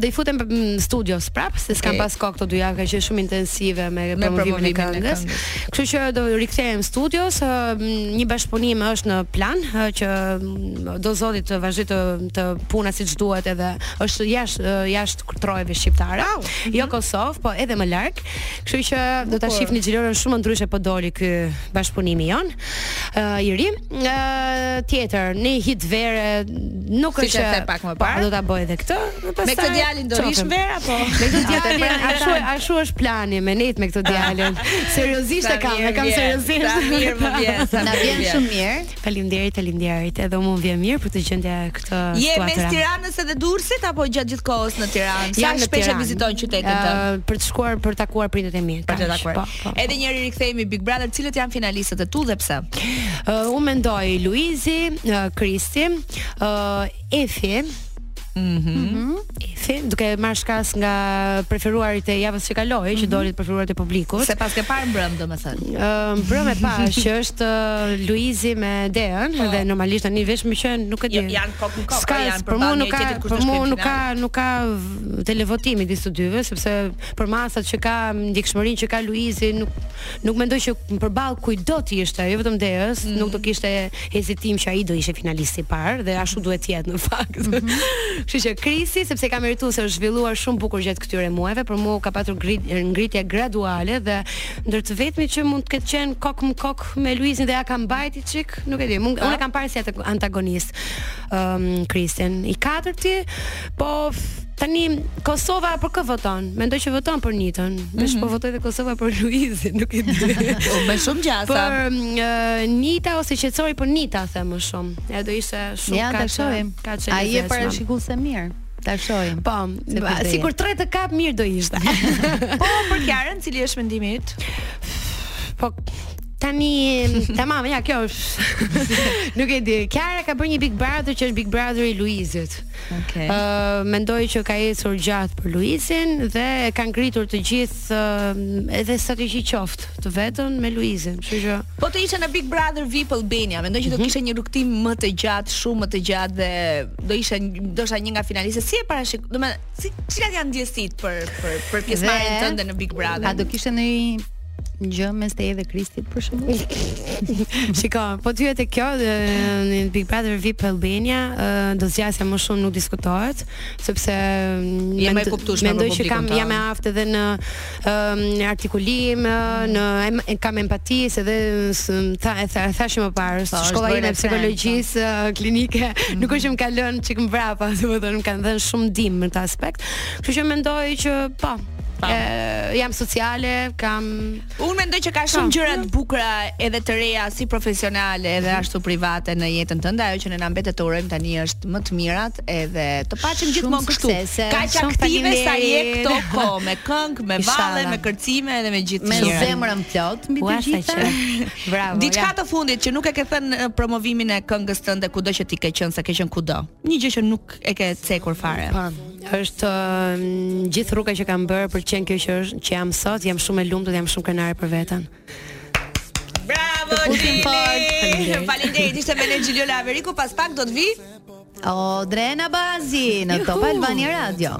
C: do i futem në studios prap se s'kam
B: Okej.
C: pas kohë këto dy javë ka qenë shumë intensive me,
B: Me
C: promovimin e
B: promovimin e
C: këngës.
B: këngës.
C: Kështu që do rikthehem në studios, ë, m, një bashkëpunim është në plan ë, që m, do zoti të vazhdoj të, të puna siç duhet edhe është jashtë ë, jashtë trojeve shqiptare.
B: mhm.
C: Jo Kosovë, po edhe më larg. Kështu që do ta
B: Bukur.
C: shihni Xhilorën shumë ndryshe po doli ky bashkëpunimi jon. ë, i ri. Ë, tjetër, në hit vere nuk
B: Siç
C: është
B: e the pak më
C: po,
B: parë.
C: Do ta bëj edhe këtë. dhe
B: Me
C: pastaj
B: këtë djalin do rish
C: qofem.
B: verë apo?
C: Me
B: (laughs)
C: këtë
A: Atë pra,
C: djalin,
A: ata-
C: ashtu ashtu është plani me net me këtë djalin. Seriozisht e
B: Sa
C: kam, e
B: mirë
C: kam
B: vjen,
C: seriozisht.
B: Sa mirë më vjen.
C: (laughs)
B: sa
A: Na
B: mirë
A: vjen
B: vjen.
A: shumë mirë.
C: Faleminderit, faleminderit. Edhe unë vjen mirë për të gjendja këtë
B: Je mes
C: situatë.
B: Tiranës edhe Durrësit apo gjatë gjithë kohës në Tiranë? Sa
C: Jam në
B: shpesh e
C: Tiranë.
B: viziton qytetin tënd?
C: Ë, Për të shkuar për të takuar pritët e mi.
B: Për të
C: kaq,
B: takuar.
C: po, po, po.
B: Edhe njëri rikthehemi Big Brother, cilët janë finalistët e tu dhe pse?
C: Uh, unë mendoj Luizi, uh, Kristi, uh, Efi,
B: Mhm.
C: Mhm. Efi, duke marrë shkas nga preferuarit e javës që kaloi,
B: Mhm.
C: që doli të preferuarit e publikut.
B: Se pas ke parë mbrëm
C: (laughs)
B: domethënë.
C: Ëm brëm e Ehm,
B: (laughs)
C: pa që është ë, Luizi me Dean dhe normalisht tani vesh më që nuk e di.
B: Jo, Po. janë kokë në kokë,
C: Ska,
B: janë
C: për mua
B: përballë
C: nuk ka
B: njëri tjetrit kur të
C: për mua
B: shkojnë
C: nuk ka nuk ka v- televotimi disë të dyve sepse për masat që ka ndjekshmërinë që ka Luizi nuk nuk mendoj që përball kujdo të ishte, jo vetëm Deas,
B: Mm.
C: nuk do kishte hezitim që ai do ishte finalisti i parë dhe ashtu duhet të jetë në fakt.
B: Mhm.
C: (laughs) Kështu që Krisi sepse ka merituar se është zhvilluar shumë bukur gjatë këtyre muajve, për mua ka patur grit, ngritje graduale dhe ndër të vetmi që mund të ketë qenë kok më kok me Luizin dhe ja ka mbajti çik, nuk e di, mund unë e kam parë si atë antagonist. Ëm um, Kristen i katërti, po f- Tani Kosova për kë voton? Mendoj që voton për Nitën. Vesh po votoj dhe Kosova për Luizin, nuk e (laughs) di.
B: Po me shumë gjasa.
C: Për um, e, Nita ose qetësori për Nita them më shumë. Ja do ishte shumë
A: Ja, ta
C: ka që-
A: shohim.
C: Ka çe.
A: Ai e parashikuese mirë. Ta shohim.
C: Po,
A: Se
C: ba-
A: përdoje.
C: sikur 3 të kap mirë do ishte.
B: Po për Kiarën, cili është mendimi i yt?
C: po tani tamam, ja kjo është. nuk e di. Kiara ka bërë një Big Brother që është Big Brother i Luizit.
B: Okej.
C: Ë, mendoj që ka ecur gjatë për Luizin dhe kanë ngritur të gjithë ë, edhe strategji qoftë të vetën me Luizin. Kështu që
B: Po të ishte në Big Brother VIP Albania, mendoj që do kishte një rrugtim më të gjatë, shumë më të gjatë dhe do ishte ndoshta një nga finalistët. Si e parashikon, do të thënë, si cilat janë ndjesitë për për për pjesëmarrjen
A: Dhe-
B: tënde në Big Brother?
A: A do kishte ndonjë gjë mes teje dhe Kristit për
C: (laughs)
A: shembull?
B: (laughs)
C: Shiko, po ty e të kjo dhe, në Big Brother VIP Albania ë, do zgjasja më shumë nuk diskutohet sepse mm,
B: Je më e
C: mend-
B: kuptueshme për
C: mendoj që
B: publikun
C: kam
B: tonë.
C: jam e aftë edhe në ëm, në artikulim
B: Mm.
C: ë, në em, e- kam empati se dhe s- tha e tha, e thashim më parë
A: Po, është
C: shkolla
A: bërë
C: ime e
A: referencë.
C: psikologjisë ë, klinike
B: Mm.
C: nuk është që më ka lënë çik mbrapa (laughs) domethënë më kanë dhënë shumë dim në këtë aspekt kështu që mendoj që po
B: Po.
C: e, jam sociale kam
B: Unë mendoj që ka shumë gjëra të bukura edhe të reja si profesionale
C: Mhm.
B: edhe ashtu private në jetën tënde, ajo që ne na mbetet të urojmë tani është më të mirat edhe të paqim
A: Shumë
B: gjithmonë kështu.
A: suksese,
B: Kaq
C: shumë
B: aktive sa je
C: faleminderit.
B: këto kohë me këngë, me valle,
C: Inshallah.
B: me kërcime edhe me gjithë
A: Me
B: të tjerën.
A: zemrën plot mbi të
C: Ua, sa
A: gjitha.
C: që-
A: (laughs)
C: Bravo.
B: Diçka
C: ja.
B: të fundit që nuk e ke thënë në promovimin e këngës tënde kudo që ti ke qenë, sa ke qenë kudo. Një gjë që nuk e ke cekur fare.
C: Po, është ë, gjithë rruga që kam bërë për të qenë kjo që është që jam sot, jam shumë e lumtur, jam shumë krenare për veten.
B: Bravo
C: Po,
B: Lili. Faleminderit, ishte me ne Gjilio Laveriku, pas pak do të vi
A: O Drena Bazi në Top
C: Juhu.
A: Albania Radio.